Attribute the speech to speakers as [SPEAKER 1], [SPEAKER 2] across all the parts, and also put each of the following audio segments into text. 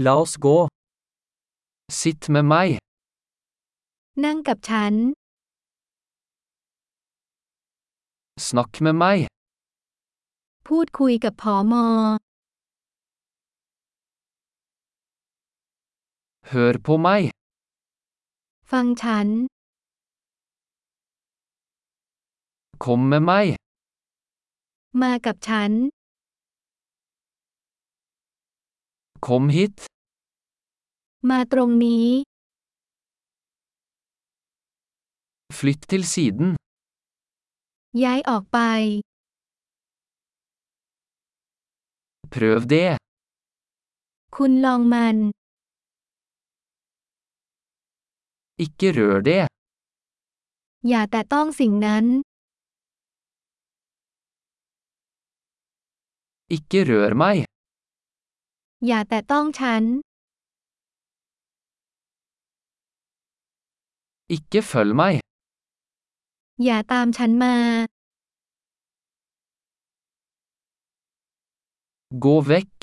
[SPEAKER 1] La oss gå. Sitt med meg.
[SPEAKER 2] นั่งกับฉัน
[SPEAKER 1] Snakk med meg.
[SPEAKER 2] พูดคุยกับผอมอ
[SPEAKER 1] Hør på meg.
[SPEAKER 2] ฟังฉัน
[SPEAKER 1] Kom med meg.
[SPEAKER 2] มากับฉัน
[SPEAKER 1] Kom hit.
[SPEAKER 2] มาตรงนี้
[SPEAKER 1] Flytt til siden.
[SPEAKER 2] ย้ายออกไป
[SPEAKER 1] Prøv det.
[SPEAKER 2] คุณลองมัน
[SPEAKER 1] Ikke rør det.
[SPEAKER 2] อย่าแต่ต้องสิ่งนั้น
[SPEAKER 1] Ikke rør meg.
[SPEAKER 2] อย่าแต่ต้องฉัน
[SPEAKER 1] Ikke følg meg.
[SPEAKER 2] อย่าตามฉันมา
[SPEAKER 1] Gå vekk.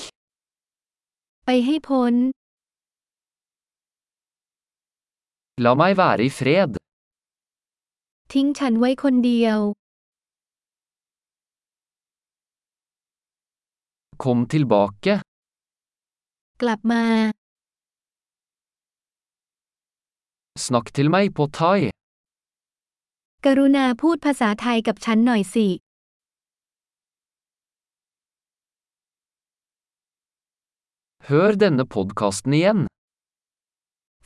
[SPEAKER 2] ไปให้พ้น
[SPEAKER 1] La meg være i fred.
[SPEAKER 2] ทิ้งฉันไว้คนเดียว
[SPEAKER 1] Kom tilbake.
[SPEAKER 2] กลับมา
[SPEAKER 1] Snakk til meg på thai.
[SPEAKER 2] กรุณาพูดภาษาไทยกับฉันหน่อยสิ
[SPEAKER 1] Hør denne podkasten igjen.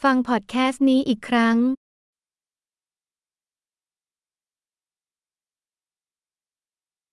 [SPEAKER 2] ฟังพอดแคสต์นี้อีกครั้ง